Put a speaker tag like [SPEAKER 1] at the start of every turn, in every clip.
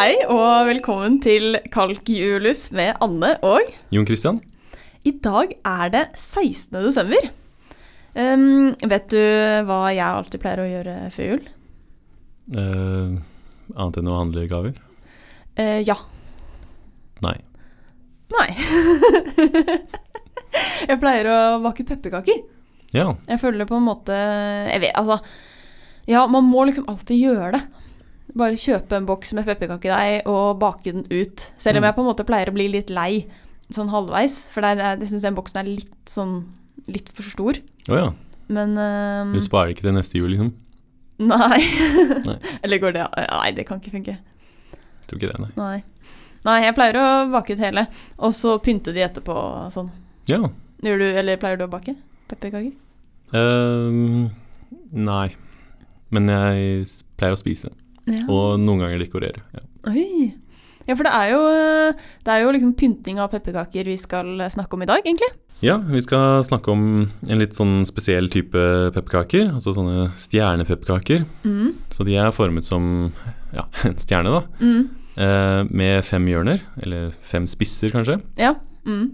[SPEAKER 1] og velkommen til Kalkjulus med Anne og
[SPEAKER 2] Jon Christian?
[SPEAKER 1] I dag er det 16. desember. Ehm, vet du hva jeg alltid pleier å gjøre før jul?
[SPEAKER 2] Eh, annet enn å handle gaver?
[SPEAKER 1] Eh, ja.
[SPEAKER 2] Nei.
[SPEAKER 1] Nei. jeg pleier å bake pepperkaker.
[SPEAKER 2] Ja.
[SPEAKER 1] Jeg føler det på en måte Jeg vet, altså Ja, man må liksom alltid gjøre det. Bare kjøpe en boks med pepperkakedeig og bake den ut. Selv om
[SPEAKER 2] Mm.
[SPEAKER 1] jeg på en måte pleier å bli litt lei sånn halvveis, for det er- jeg syns den boksen er litt sånn litt for stor.
[SPEAKER 2] Å ja.
[SPEAKER 1] Men ehm,
[SPEAKER 2] Du sparer ikke til neste jul, liksom?
[SPEAKER 1] nei.
[SPEAKER 2] Nei.
[SPEAKER 1] Eller går det Nei, det kan ikke funke.
[SPEAKER 2] Tror ikke det, nei.
[SPEAKER 1] Nei. Nei, jeg pleier å bake ut hele, og så pynte de etterpå og sånn.
[SPEAKER 2] Ja.
[SPEAKER 1] Gjør du, eller pleier du å bake pepperkaker?
[SPEAKER 2] Eh, nei. Men jeg s- pleier å spise,
[SPEAKER 1] Ja.
[SPEAKER 2] og noen ganger dekorere. Ja.
[SPEAKER 1] Oi. Ja, for det er jo, eh, det er jo liksom pynting av pepperkaker vi skal eh, snakke om i dag, egentlig.
[SPEAKER 2] ja, vi skal snakke om en litt sånn spesiell type pepperkaker. Altså sånne stjernepepperkaker.
[SPEAKER 1] Mm.
[SPEAKER 2] Så de er formet som ja, en stjerne, da.
[SPEAKER 1] Mm.
[SPEAKER 2] Eh, med fem hjørner, eller fem spisser kanskje.
[SPEAKER 1] Ja. Mm.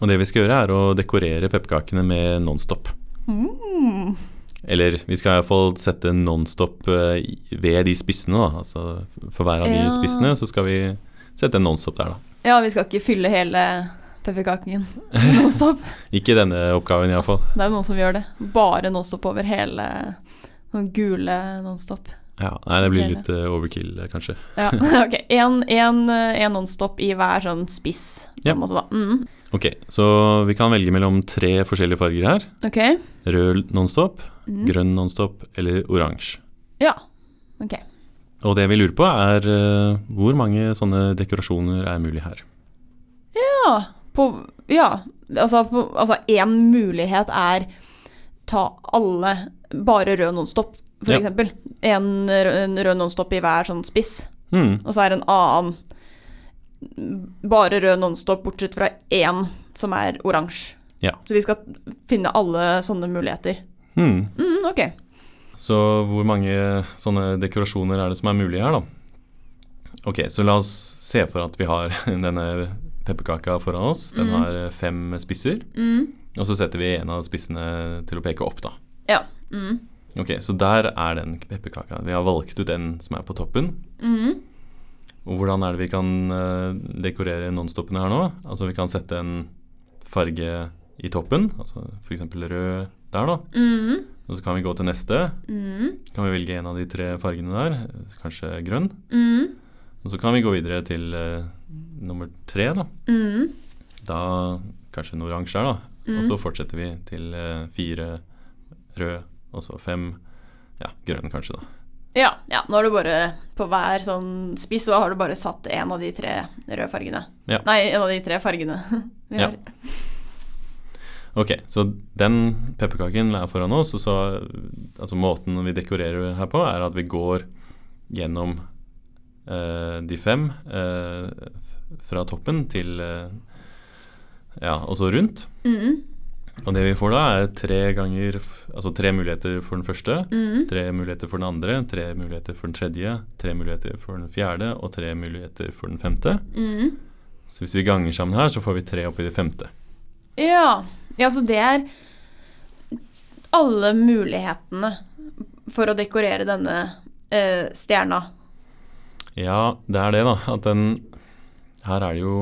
[SPEAKER 2] Og det vi skal gjøre, er å dekorere pepperkakene med Nonstop.
[SPEAKER 1] Mm.
[SPEAKER 2] Eller vi skal i hvert fall sette Nonstop eh, i- ved de spissene, da. Altså for hver av de
[SPEAKER 1] Ja.
[SPEAKER 2] spissene så skal vi sette en Nonstop der, da.
[SPEAKER 1] Ja, vi skal ikke fylle hele pepperkaken nonstop.
[SPEAKER 2] Ikke denne oppgaven iallfall.
[SPEAKER 1] Det er noen som gjør det. Bare nonstop over hele sånn gule nonstop.
[SPEAKER 2] Ja, nei, det blir
[SPEAKER 1] Hele.
[SPEAKER 2] litt eh, overkill, eh, kanskje.
[SPEAKER 1] Ja, ok. En, en, eh, en nonstop i hver sånn spiss, på
[SPEAKER 2] Ja.
[SPEAKER 1] en måte, da. Mm.
[SPEAKER 2] Ok, så vi kan velge mellom tre forskjellige farger her.
[SPEAKER 1] Ok.
[SPEAKER 2] Rød Nonstop,
[SPEAKER 1] Mm.
[SPEAKER 2] grønn Nonstop eller oransje.
[SPEAKER 1] Ja. Ok.
[SPEAKER 2] Og det vi lurer på, er eh, hvor mange sånne dekorasjoner er mulig her.
[SPEAKER 1] Ja. På, ja. Altså, på, altså en mulighet er ta alle, bare rød nonstop, for
[SPEAKER 2] Ja.
[SPEAKER 1] eksempel. En, rød- en rød nonstop i hver sånn spiss,
[SPEAKER 2] Hmm.
[SPEAKER 1] og så er det en annen bare rød nonstop, bortsett fra én som er oransje.
[SPEAKER 2] Ja.
[SPEAKER 1] Så vi skal finne alle sånne muligheter.
[SPEAKER 2] Hmm.
[SPEAKER 1] Mm, ok.
[SPEAKER 2] Så hvor mange sånne dekorasjoner er det som er mulig her, da? Ok, så la oss se for at vi har denne pepperkaka foran oss. Den
[SPEAKER 1] Mm.
[SPEAKER 2] har eh, fem spisser,
[SPEAKER 1] Mm,
[SPEAKER 2] og så setter vi en av spissene til å peke opp, da.
[SPEAKER 1] ja. Mm,
[SPEAKER 2] Ok, så der er den pepperkaka. Vi har valgt ut den som er på toppen.
[SPEAKER 1] mm,
[SPEAKER 2] Og hvordan er det vi kan eh, dekorere nonstoppene her nå? Altså vi kan sette en farge i toppen, altså f.eks. rød der, da.
[SPEAKER 1] mm,
[SPEAKER 2] Og så kan vi gå til neste.
[SPEAKER 1] mm,
[SPEAKER 2] Kan vi velge en av de tre fargene der, kanskje grønn.
[SPEAKER 1] mm,
[SPEAKER 2] Og så kan vi gå videre til eh, nummer tre, da.
[SPEAKER 1] mm,
[SPEAKER 2] Da kanskje en oransje her, da. Og så fortsetter vi til eh, fire rød, og så fem ja, grønn, kanskje, da.
[SPEAKER 1] Ja, ja, nå har du bare på hver sånn spiss, så har du bare satt en av de tre røde fargene.
[SPEAKER 2] Ja.
[SPEAKER 1] Nei, en av de tre fargene vi
[SPEAKER 2] Ja.
[SPEAKER 1] har.
[SPEAKER 2] Ok, så den pepperkaken er foran oss, og så altså måten vi dekorerer her på, er at vi går gjennom eh, de fem eh, f- fra toppen til eh, ja, og så rundt.
[SPEAKER 1] Mm,
[SPEAKER 2] Og det vi får da, er tre ganger f- Altså tre muligheter for den første.
[SPEAKER 1] mm,
[SPEAKER 2] Tre muligheter for den andre, tre muligheter for den tredje, tre muligheter for den fjerde og tre muligheter for den femte.
[SPEAKER 1] mm.
[SPEAKER 2] Så hvis vi ganger sammen her, så får vi tre oppi det femte.
[SPEAKER 1] Ja. ja, så det er alle mulighetene for å dekorere denne eh, stjerna.
[SPEAKER 2] Ja, det er det, da. At den Her er det jo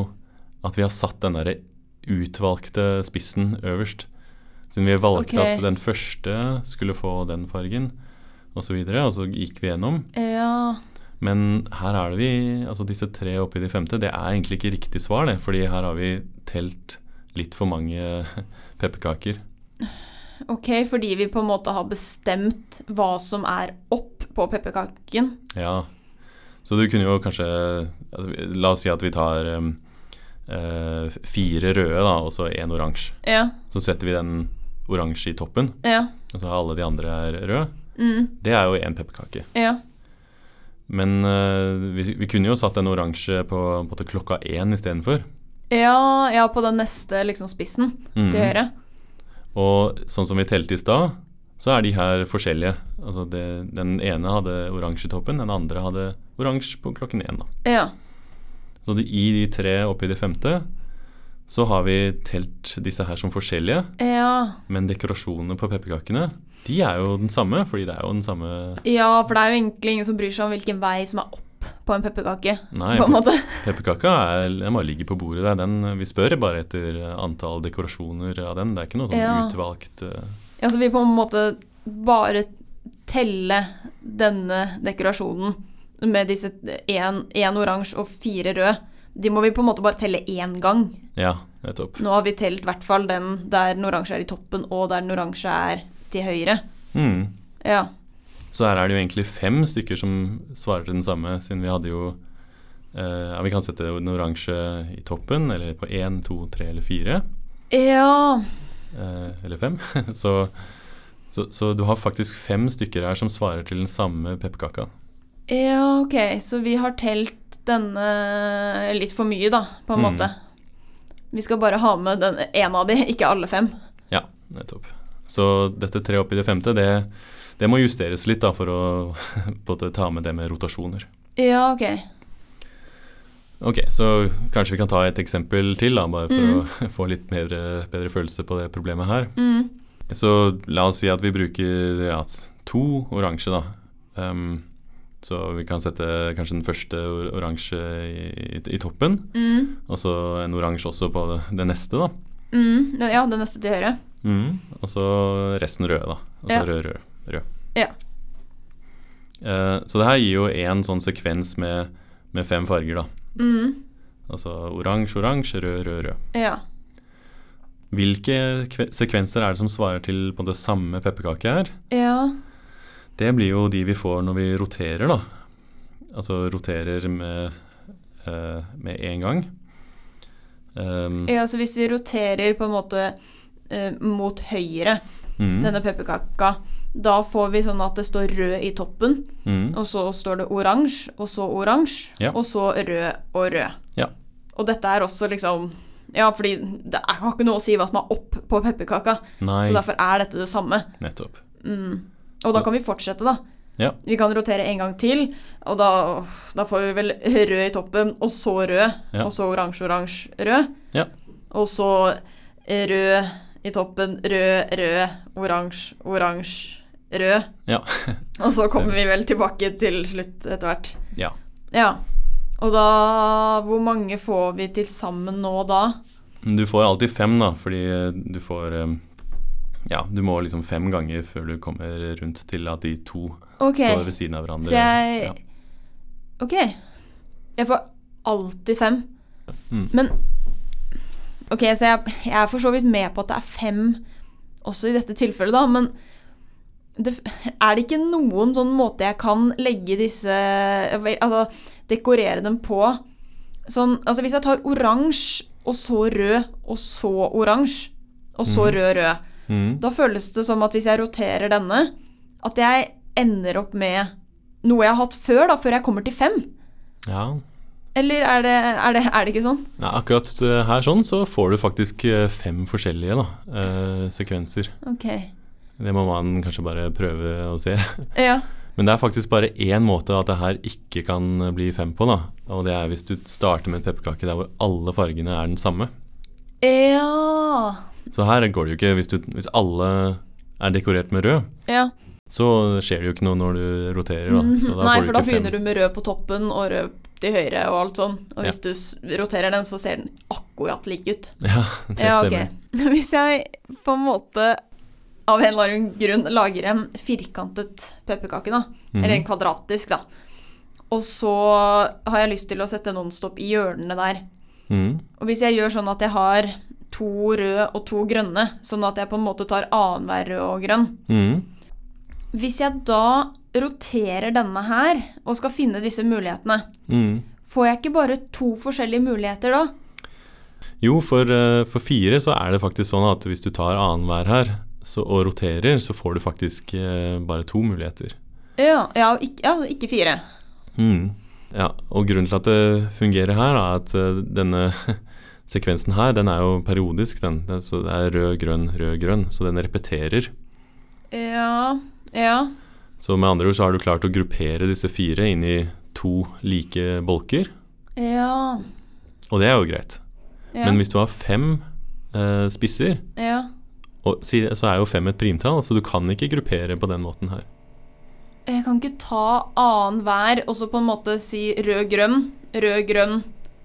[SPEAKER 2] at vi har satt den derre utvalgte spissen øverst. Siden vi valgte
[SPEAKER 1] Ok.
[SPEAKER 2] at den første skulle få den fargen, og så videre, og så gikk vi gjennom.
[SPEAKER 1] Ja.
[SPEAKER 2] Men her er det vi Altså disse tre oppi de femte, det er egentlig ikke riktig svar, det. Fordi her har vi telt litt for mange pepperkaker.
[SPEAKER 1] Ok, fordi vi på en måte har bestemt hva som er opp på pepperkaken.
[SPEAKER 2] Ja. Så du kunne jo kanskje altså, La oss si at vi tar um, eh, fire røde, da, og så én oransje.
[SPEAKER 1] Ja.
[SPEAKER 2] Så setter vi den oransje i toppen,
[SPEAKER 1] Ja.
[SPEAKER 2] og så er alle de andre er røde.
[SPEAKER 1] Mm,
[SPEAKER 2] Det er jo én pepperkake.
[SPEAKER 1] ja.
[SPEAKER 2] Men eh, vi, vi kunne jo satt den oransje på, på en måte klokka én istedenfor.
[SPEAKER 1] Ja, ja, på den neste liksom, spissen
[SPEAKER 2] Mm.
[SPEAKER 1] til høyre.
[SPEAKER 2] Og sånn som vi telte i stad, så er de her forskjellige. Altså det, den ene hadde oransje i toppen, den andre hadde oransje på klokken én. da.
[SPEAKER 1] Ja.
[SPEAKER 2] Så de, i de tre oppi det femte så har vi telt disse her som forskjellige.
[SPEAKER 1] Ja.
[SPEAKER 2] Men dekorasjonene på pepperkakene de er jo den samme, fordi det er jo den samme
[SPEAKER 1] ja, for det er jo egentlig ingen som bryr seg om hvilken vei som er opp på en pepperkake.
[SPEAKER 2] Nei,
[SPEAKER 1] På en måte.
[SPEAKER 2] pepperkaka er, den bare ligger på bordet. Det er den, vi spør bare etter eh, antall dekorasjoner av den. Det er ikke noe sånn
[SPEAKER 1] Ja.
[SPEAKER 2] utvalgt eh,
[SPEAKER 1] Ja, så vi på en måte bare telle denne dekorasjonen med disse én oransje og fire røde. De må vi på en måte bare telle én gang.
[SPEAKER 2] Ja, nettopp.
[SPEAKER 1] Nå har vi telt i hvert fall den der den oransje er i toppen, og der den oransje er til høyre.
[SPEAKER 2] Mm.
[SPEAKER 1] Ja.
[SPEAKER 2] Så her er det jo egentlig fem stykker som svarer til den samme, siden vi hadde jo eh, ja, Vi kan sette den oransje i toppen, eller på én, to, tre eller fire.
[SPEAKER 1] Ja,
[SPEAKER 2] eh, eller fem. så, så, så du har faktisk fem stykker her som svarer til den samme pepperkaka.
[SPEAKER 1] ja ok. Så vi har telt denne litt for mye, da, på en
[SPEAKER 2] Mm.
[SPEAKER 1] måte. Vi skal bare ha med den ene av de, ikke alle fem.
[SPEAKER 2] Ja, nettopp. Så dette tre oppi det femte, det, det må justeres litt da, for å både ta med det med rotasjoner.
[SPEAKER 1] Ja, ok.
[SPEAKER 2] Ok, så kanskje vi kan ta et eksempel til, da, bare for å få litt bedre, bedre følelse på det problemet her.
[SPEAKER 1] Mm.
[SPEAKER 2] Så la oss si at vi bruker ja, to oransje, da. Ehm, så vi kan sette kanskje den første or- oransje i, i, i toppen,
[SPEAKER 1] Mm.
[SPEAKER 2] og så en oransje også på det, det neste, da.
[SPEAKER 1] Mm. den- Ja, den neste til høyre.
[SPEAKER 2] Mm. Og så resten røde, da. Altså
[SPEAKER 1] Ja.
[SPEAKER 2] rød, rød, rød.
[SPEAKER 1] Ja.
[SPEAKER 2] Eh, så det her gir jo én sånn sekvens med, med fem farger, da.
[SPEAKER 1] Mm.
[SPEAKER 2] Altså oransje, oransje, rød, rød, rød.
[SPEAKER 1] Ja.
[SPEAKER 2] Hvilke kve sekvenser er det som svarer til på det samme pepperkake her?
[SPEAKER 1] Ja.
[SPEAKER 2] Det blir jo de vi får når vi roterer, da. Altså roterer med, eh, med én gang. Ehm,
[SPEAKER 1] ja, så hvis vi roterer på en måte eh, mot høyre,
[SPEAKER 2] mm,
[SPEAKER 1] denne pepperkaka, da får vi sånn at det står rød i toppen,
[SPEAKER 2] mm,
[SPEAKER 1] og så står det oransje, og så oransje,
[SPEAKER 2] Ja.
[SPEAKER 1] og så rød og rød.
[SPEAKER 2] Ja.
[SPEAKER 1] Og dette er også liksom Ja, fordi det er- har ikke noe å si hva som er opp på pepperkaka, så
[SPEAKER 2] Nei,
[SPEAKER 1] derfor er dette det samme.
[SPEAKER 2] nettopp.
[SPEAKER 1] Mm. Og da
[SPEAKER 2] Så-
[SPEAKER 1] kan vi fortsette, da.
[SPEAKER 2] Ja.
[SPEAKER 1] Vi kan rotere en gang til, og da, da får vi vel rød i toppen, og så rød,
[SPEAKER 2] Ja.
[SPEAKER 1] og så oransje, oransje, rød.
[SPEAKER 2] Ja.
[SPEAKER 1] Og så rød i toppen, rød, rød, oransje, oransje, rød.
[SPEAKER 2] Ja.
[SPEAKER 1] og så kommer vi vel tilbake til slutt etter hvert.
[SPEAKER 2] Ja.
[SPEAKER 1] Ja. Og da Hvor mange får vi til sammen nå da?
[SPEAKER 2] Du får alltid fem, da, fordi du får ehm, Ja, du må liksom fem ganger før du kommer rundt til at de to
[SPEAKER 1] Ok.
[SPEAKER 2] står ved siden av hverandre.
[SPEAKER 1] Så jeg
[SPEAKER 2] ja.
[SPEAKER 1] Ok. Jeg får alltid fem.
[SPEAKER 2] Mm.
[SPEAKER 1] Men Ok, så jeg, jeg er for så vidt med på at det er fem også i dette tilfellet, da, men det, er det ikke noen sånn måte jeg kan legge disse vel, Altså dekorere dem på sånn Altså hvis jeg tar oransje, og så rød, og så oransje, og så
[SPEAKER 2] Mhm.
[SPEAKER 1] rød, rød
[SPEAKER 2] Mm,
[SPEAKER 1] da føles det som at hvis jeg roterer denne, at jeg ender opp med noe jeg har hatt før, da, før jeg kommer til fem.
[SPEAKER 2] ja.
[SPEAKER 1] Eller er det, er det, er det ikke sånn?
[SPEAKER 2] Nei, akkurat eh, her sånn så får du faktisk eh, fem forskjellige da, eh, sekvenser.
[SPEAKER 1] Ok.
[SPEAKER 2] Det må man kanskje bare prøve å se.
[SPEAKER 1] Ja.
[SPEAKER 2] Men det er faktisk bare én måte at det her ikke kan bli fem på. da. Og det er hvis du starter med en pepperkake der hvor alle fargene er den samme.
[SPEAKER 1] Ja.
[SPEAKER 2] Så her går det jo ikke hvis, du, hvis alle er dekorert med rød.
[SPEAKER 1] ja.
[SPEAKER 2] Så skjer det jo ikke noe når du roterer, da. Så da
[SPEAKER 1] Mhm. Nei,
[SPEAKER 2] får du
[SPEAKER 1] for da
[SPEAKER 2] ikke fem.
[SPEAKER 1] begynner du med rød på toppen og rød til høyre og alt sånn. Og hvis du s- roterer den, så ser den akkurat lik ut.
[SPEAKER 2] Ja, det
[SPEAKER 1] Ja, ok.
[SPEAKER 2] stemmer.
[SPEAKER 1] Hvis jeg på en måte av en eller annen grunn lager en firkantet pepperkake, da,
[SPEAKER 2] Mhm.
[SPEAKER 1] eller en kvadratisk, da, og så har jeg lyst til å sette Nonstop i hjørnene der.
[SPEAKER 2] Mm,
[SPEAKER 1] Og hvis jeg gjør sånn at jeg har to røde og to grønne, sånn at jeg på en måte tar annenhver rød og grønn
[SPEAKER 2] mm,
[SPEAKER 1] Hvis jeg da roterer denne her og skal finne disse mulighetene,
[SPEAKER 2] mm.
[SPEAKER 1] får jeg ikke bare to forskjellige muligheter da?
[SPEAKER 2] Jo, for, eh, for fire så er det faktisk sånn at hvis du tar annenhver her så, og roterer, så får du faktisk eh, bare to muligheter.
[SPEAKER 1] Ja, ja, ikke, ja, ikke fire.
[SPEAKER 2] Mm. Ja, og grunnen til at det fungerer her, er at eh, denne sekvensen her, den er jo periodisk, den. Den- Så det er rød, grønn, rød, grønn. Så den repeterer.
[SPEAKER 1] Ja, ja.
[SPEAKER 2] Så med andre ord så har du klart å gruppere disse fire inn i to like bolker.
[SPEAKER 1] Ja.
[SPEAKER 2] Og det er jo greit.
[SPEAKER 1] Ja.
[SPEAKER 2] Men hvis du har fem eh, spisser,
[SPEAKER 1] ja.
[SPEAKER 2] og, si- så er jo fem et primtall, så du kan ikke gruppere på den måten her.
[SPEAKER 1] Jeg kan ikke ta annenhver og så på en måte si rød-grønn, rød-grønn,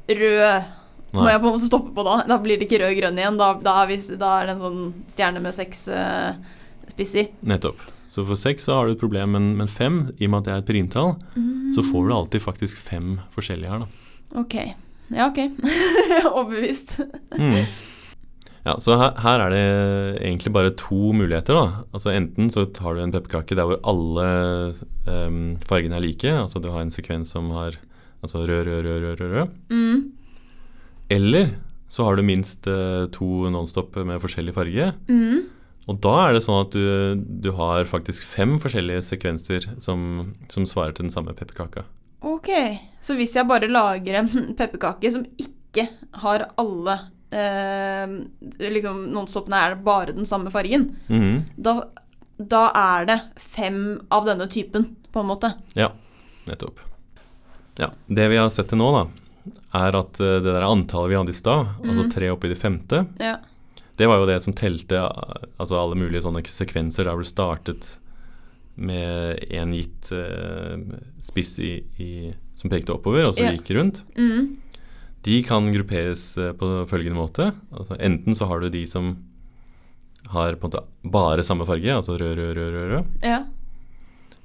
[SPEAKER 1] rød. Må
[SPEAKER 2] Nei.
[SPEAKER 1] jeg på en måte stoppe på da? Da blir det ikke rød-grønn igjen. Da, da, er vi, da er det en sånn stjerne med seks eh, spisser.
[SPEAKER 2] Nettopp. Så for seks så har du et problem, men, men fem, i og med at det er et primtall, så
[SPEAKER 1] Mm.
[SPEAKER 2] får du alltid faktisk fem forskjellige her, da.
[SPEAKER 1] Ok. Ja, ok. Overbevist.
[SPEAKER 2] Mm. Ja, så her, her er det egentlig bare to muligheter, da. Altså enten så tar du en pepperkake der hvor alle em, fargene er like, altså du har en sekvens som har altså rød, rød, rød, rød, rød, rød.
[SPEAKER 1] Mm.
[SPEAKER 2] Eller så har du minst eh, to nonstop med forskjellig farge.
[SPEAKER 1] Mm.
[SPEAKER 2] Og da er det sånn at du, du har faktisk fem forskjellige sekvenser som, som svarer til den samme pepperkaka.
[SPEAKER 1] Ok. Så hvis jeg bare lager en pepperkake som ikke har alle eh, liksom Nonstopene er det bare den samme fargen,
[SPEAKER 2] Mhm.
[SPEAKER 1] da, da er det fem av denne typen, på en måte.
[SPEAKER 2] Ja, nettopp. Ja, det vi har sett til nå, da, er at eh, det der antallet vi hadde i stad, altså tre oppi det femte,
[SPEAKER 1] Ja.
[SPEAKER 2] det var jo det som telte eh, altså alle mulige sånne sekvenser der hvor du startet med en gitt eh, spiss i, i, som pekte oppover, og så
[SPEAKER 1] Ja.
[SPEAKER 2] gikk rundt.
[SPEAKER 1] Mm.
[SPEAKER 2] De kan grupperes eh, på følgende måte. Altså, enten så har du de som har på en måte bare samme farge, altså rød, rød, rød, rød, rød.
[SPEAKER 1] Ja.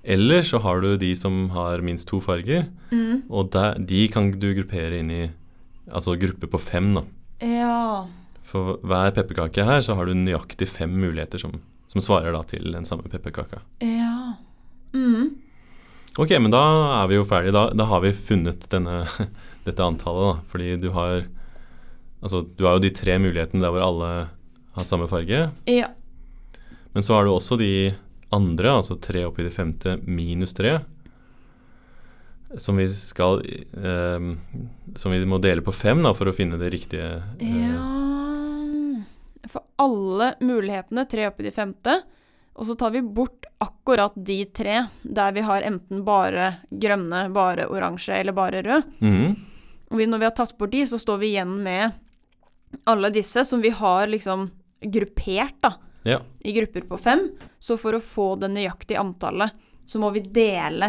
[SPEAKER 2] Eller så har du de som har minst to farger,
[SPEAKER 1] Mm.
[SPEAKER 2] og der, de kan du gruppere inn i altså gruppe på fem. da.
[SPEAKER 1] Ja.
[SPEAKER 2] For hver pepperkake her så har du nøyaktig fem muligheter som, som svarer da til den samme pepperkaka.
[SPEAKER 1] Ja. Mm.
[SPEAKER 2] Ok, men da er vi jo ferdige. Da, da har vi funnet denne, dette antallet, da. Fordi du har Altså, du har jo de tre mulighetene der hvor alle har samme farge.
[SPEAKER 1] Ja.
[SPEAKER 2] Men så har du også de andre, altså tre oppi det femte minus tre, som vi skal eh, Som vi må dele på fem da, for å finne det riktige. eh,
[SPEAKER 1] Ja For alle mulighetene, tre oppi de femte, og så tar vi bort akkurat de tre der vi har enten bare grønne, bare oransje eller bare rød.
[SPEAKER 2] mhm,
[SPEAKER 1] Og vi, når vi har tatt bort de, så står vi igjen med alle disse som vi har liksom gruppert, da,
[SPEAKER 2] ja.
[SPEAKER 1] i grupper på fem. Så for å få det nøyaktige antallet, så må vi dele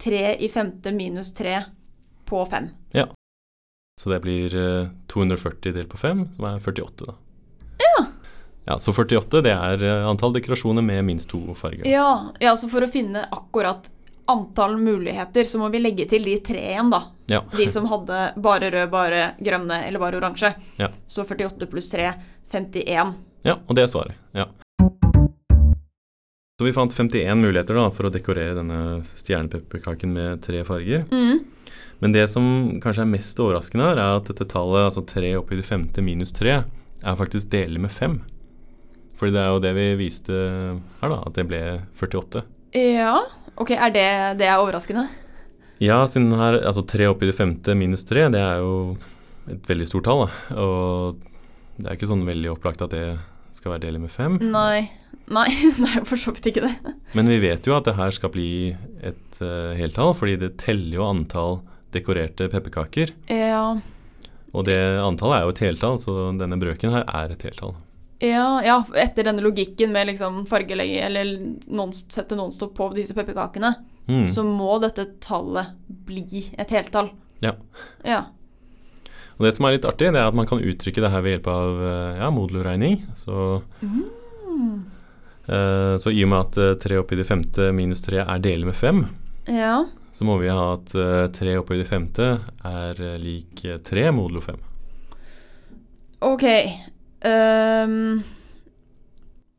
[SPEAKER 1] tre i femte minus tre på fem.
[SPEAKER 2] Så det blir eh, 240 delt på 5, som er 48, da. Ja. Så 48 det er eh, antall dekorasjoner med minst to farger.
[SPEAKER 1] Ja, ja, så for å finne akkurat antall muligheter, så må vi legge til de tre igjen, da.
[SPEAKER 2] Ja.
[SPEAKER 1] De som hadde bare rød, bare grønne eller bare oransje.
[SPEAKER 2] Ja.
[SPEAKER 1] Så 48 pluss 3, 51.
[SPEAKER 2] ja, og det er svaret. Ja. Så vi fant 51 muligheter da, for å dekorere denne stjernepepperkaken med tre farger.
[SPEAKER 1] Mm.
[SPEAKER 2] Men det som kanskje er mest overraskende her, er at dette tallet, altså 3 oppi det femte minus 3, er faktisk delig med 5. Fordi det er jo det vi viste her, da, at det ble 48.
[SPEAKER 1] Ja. Ok, er det, det er overraskende?
[SPEAKER 2] Ja, siden her, altså 3 oppi det femte minus 3, det er jo et veldig stort tall, da. Og det er ikke sånn veldig opplagt at det skal være delig med 5.
[SPEAKER 1] Nei. Nei, det er jo for så vidt ikke det.
[SPEAKER 2] Men vi vet jo at det her skal bli et uh, heltall, fordi det teller jo antall dekorerte pepperkaker.
[SPEAKER 1] Ja.
[SPEAKER 2] Og det antallet er jo et heltall, så denne brøken her er et heltall.
[SPEAKER 1] Ja, ja, etter denne logikken med liksom fargelegge eller non sette nonstop på disse pepperkakene,
[SPEAKER 2] Mm.
[SPEAKER 1] så må dette tallet bli et heltall.
[SPEAKER 2] Ja.
[SPEAKER 1] Ja.
[SPEAKER 2] Og det som er litt artig, det er at man kan uttrykke det her ved hjelp av eh, ja, moduloregning. Så, eh, så i og med at eh, 3 oppi det femte minus 3 er delig med 5,
[SPEAKER 1] Ja.
[SPEAKER 2] så må vi ha at eh, 3 oppi det femte er eh, lik eh, 3 modulo 5.
[SPEAKER 1] Ok. ehm,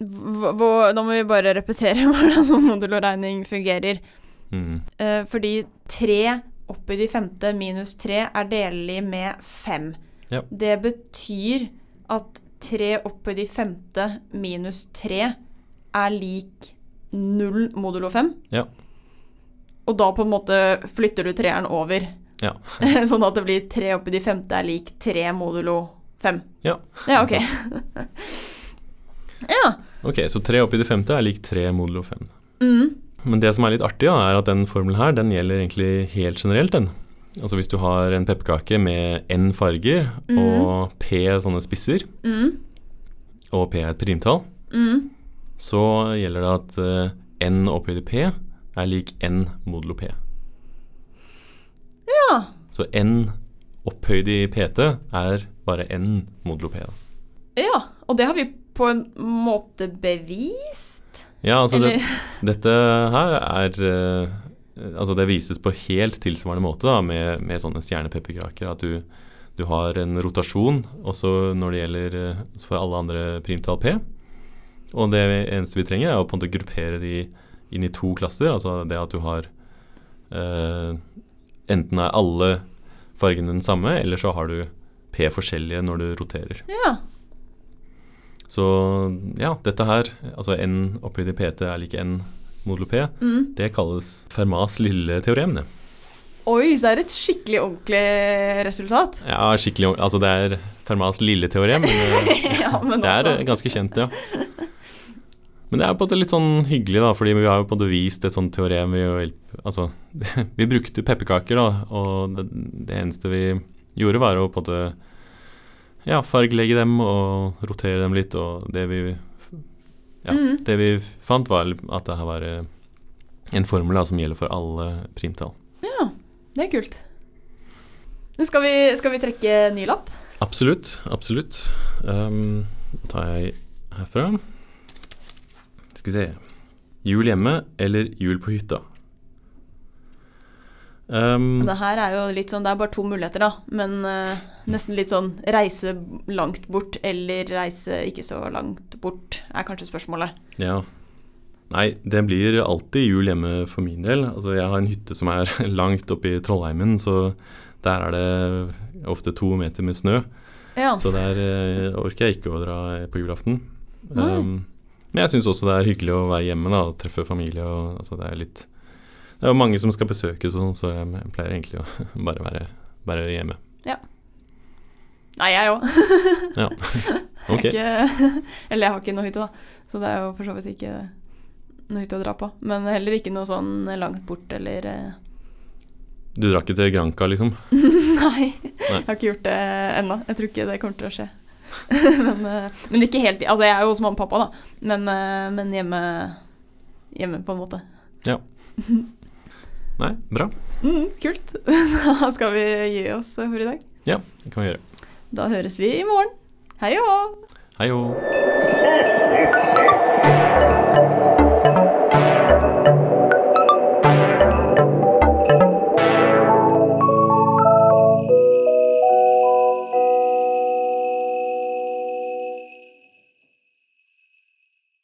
[SPEAKER 1] hva, hva- da må vi bare repetere hvordan sånn modul og regning fungerer.
[SPEAKER 2] Mm.
[SPEAKER 1] Eh, fordi tre oppi de femte minus tre er delelig med fem.
[SPEAKER 2] Ja.
[SPEAKER 1] Det betyr at tre oppi de femte minus tre er lik null modulo fem.
[SPEAKER 2] Ja.
[SPEAKER 1] Og da på en måte flytter du treeren over,
[SPEAKER 2] Ja.
[SPEAKER 1] sånn at det blir tre oppi de femte er lik tre modulo fem.
[SPEAKER 2] ja.
[SPEAKER 1] Ja, ok. ja.
[SPEAKER 2] Ok, så 3 oppi det femte er lik 3 modulo 5.
[SPEAKER 1] Mm.
[SPEAKER 2] Men det som er litt artig, da, er at den formelen her, den gjelder egentlig helt generelt, den. Altså hvis du har en pepperkake med N farger og P sånne spisser,
[SPEAKER 1] Mm.
[SPEAKER 2] og P er et primtall,
[SPEAKER 1] Mm.
[SPEAKER 2] så gjelder det at eh, N opphøyd i P er lik N modulo P.
[SPEAKER 1] Ja.
[SPEAKER 2] Så N opphøyd i PT er bare N modulo P. da.
[SPEAKER 1] ja. Og det har vi på en måte bevist.
[SPEAKER 2] Ja, altså det,
[SPEAKER 1] Eller-
[SPEAKER 2] dette her er eh, Altså det vises på helt tilsvarende måte da, med, med sånne stjernepepperkaker. At du, du har en rotasjon også når det gjelder eh, for alle andre primtall P. Og det eneste vi trenger, er å på en måte gruppere de inn i to klasser. Altså det at du har eh, Enten er alle fargene den samme, eller så har du P forskjellige når du roterer.
[SPEAKER 1] Ja.
[SPEAKER 2] Så ja, dette her, altså n opphøyd i pt er lik n modulo p,
[SPEAKER 1] Mm.
[SPEAKER 2] det kalles Fermats lille teorem, det.
[SPEAKER 1] Oi, så er det et skikkelig ordentlig resultat.
[SPEAKER 2] Ja, skikkelig ord- Altså det er Fermats lille teorem, men eh,
[SPEAKER 1] ja, men
[SPEAKER 2] det er
[SPEAKER 1] altså.
[SPEAKER 2] eh, ganske kjent, ja. Men det er på en måte litt sånn hyggelig, da, fordi vi har jo på en måte vist et sånt teorem ved å hjelpe Altså, vi brukte pepperkaker, da, og det, det eneste vi gjorde, var å på en måte ja, fargelegge dem og rotere dem litt, og det vi ja,
[SPEAKER 1] Mm.
[SPEAKER 2] Det vi f- fant var at det her var eh, en formel da, som gjelder for alle primtall.
[SPEAKER 1] Ja, det er kult. Men skal vi, skal vi trekke ny lapp?
[SPEAKER 2] Absolutt, absolutt. Ehm, da tar jeg herfra. Skal vi se. Jul hjemme eller jul på hytta? Ehm,
[SPEAKER 1] Det her er jo litt sånn, det er bare to muligheter, da. Men eh, nesten litt sånn reise langt bort eller reise ikke så langt bort, er kanskje spørsmålet.
[SPEAKER 2] ja. Nei, det blir alltid jul hjemme for min del. Altså, jeg har en hytte som er langt oppe i Trollheimen, så der er det ofte to meter med snø.
[SPEAKER 1] Ja.
[SPEAKER 2] Så der eh, orker jeg ikke å dra eh, på julaften.
[SPEAKER 1] Nei.
[SPEAKER 2] Um, men jeg syns også det er hyggelig å være hjemme da, og treffe familie. Og, altså, det er litt Det er jo mange som skal besøkes og sånn, så jeg pleier egentlig å bare være, være hjemme.
[SPEAKER 1] Nei, jeg òg.
[SPEAKER 2] Ja. Ok.
[SPEAKER 1] Eller jeg har ikke noe hytte, da. Så det er jo for så vidt ikke noe hytte å dra på. Men heller ikke noe sånn langt bort eller eh,
[SPEAKER 2] Du drar ikke til Granca, liksom?
[SPEAKER 1] Nei, jeg har ikke gjort det ennå. Jeg tror ikke det kommer til å skje. men, eh, men ikke helt Altså, jeg er jo hos mamma og pappa, da. Men, eh, men hjemme, hjemme, på en måte.
[SPEAKER 2] Nei, bra.
[SPEAKER 1] Mm, kult. da skal vi gi oss for i dag.
[SPEAKER 2] Ja, det kan vi gjøre.
[SPEAKER 1] Da høres vi i morgen. Hei og hå!
[SPEAKER 2] Hei og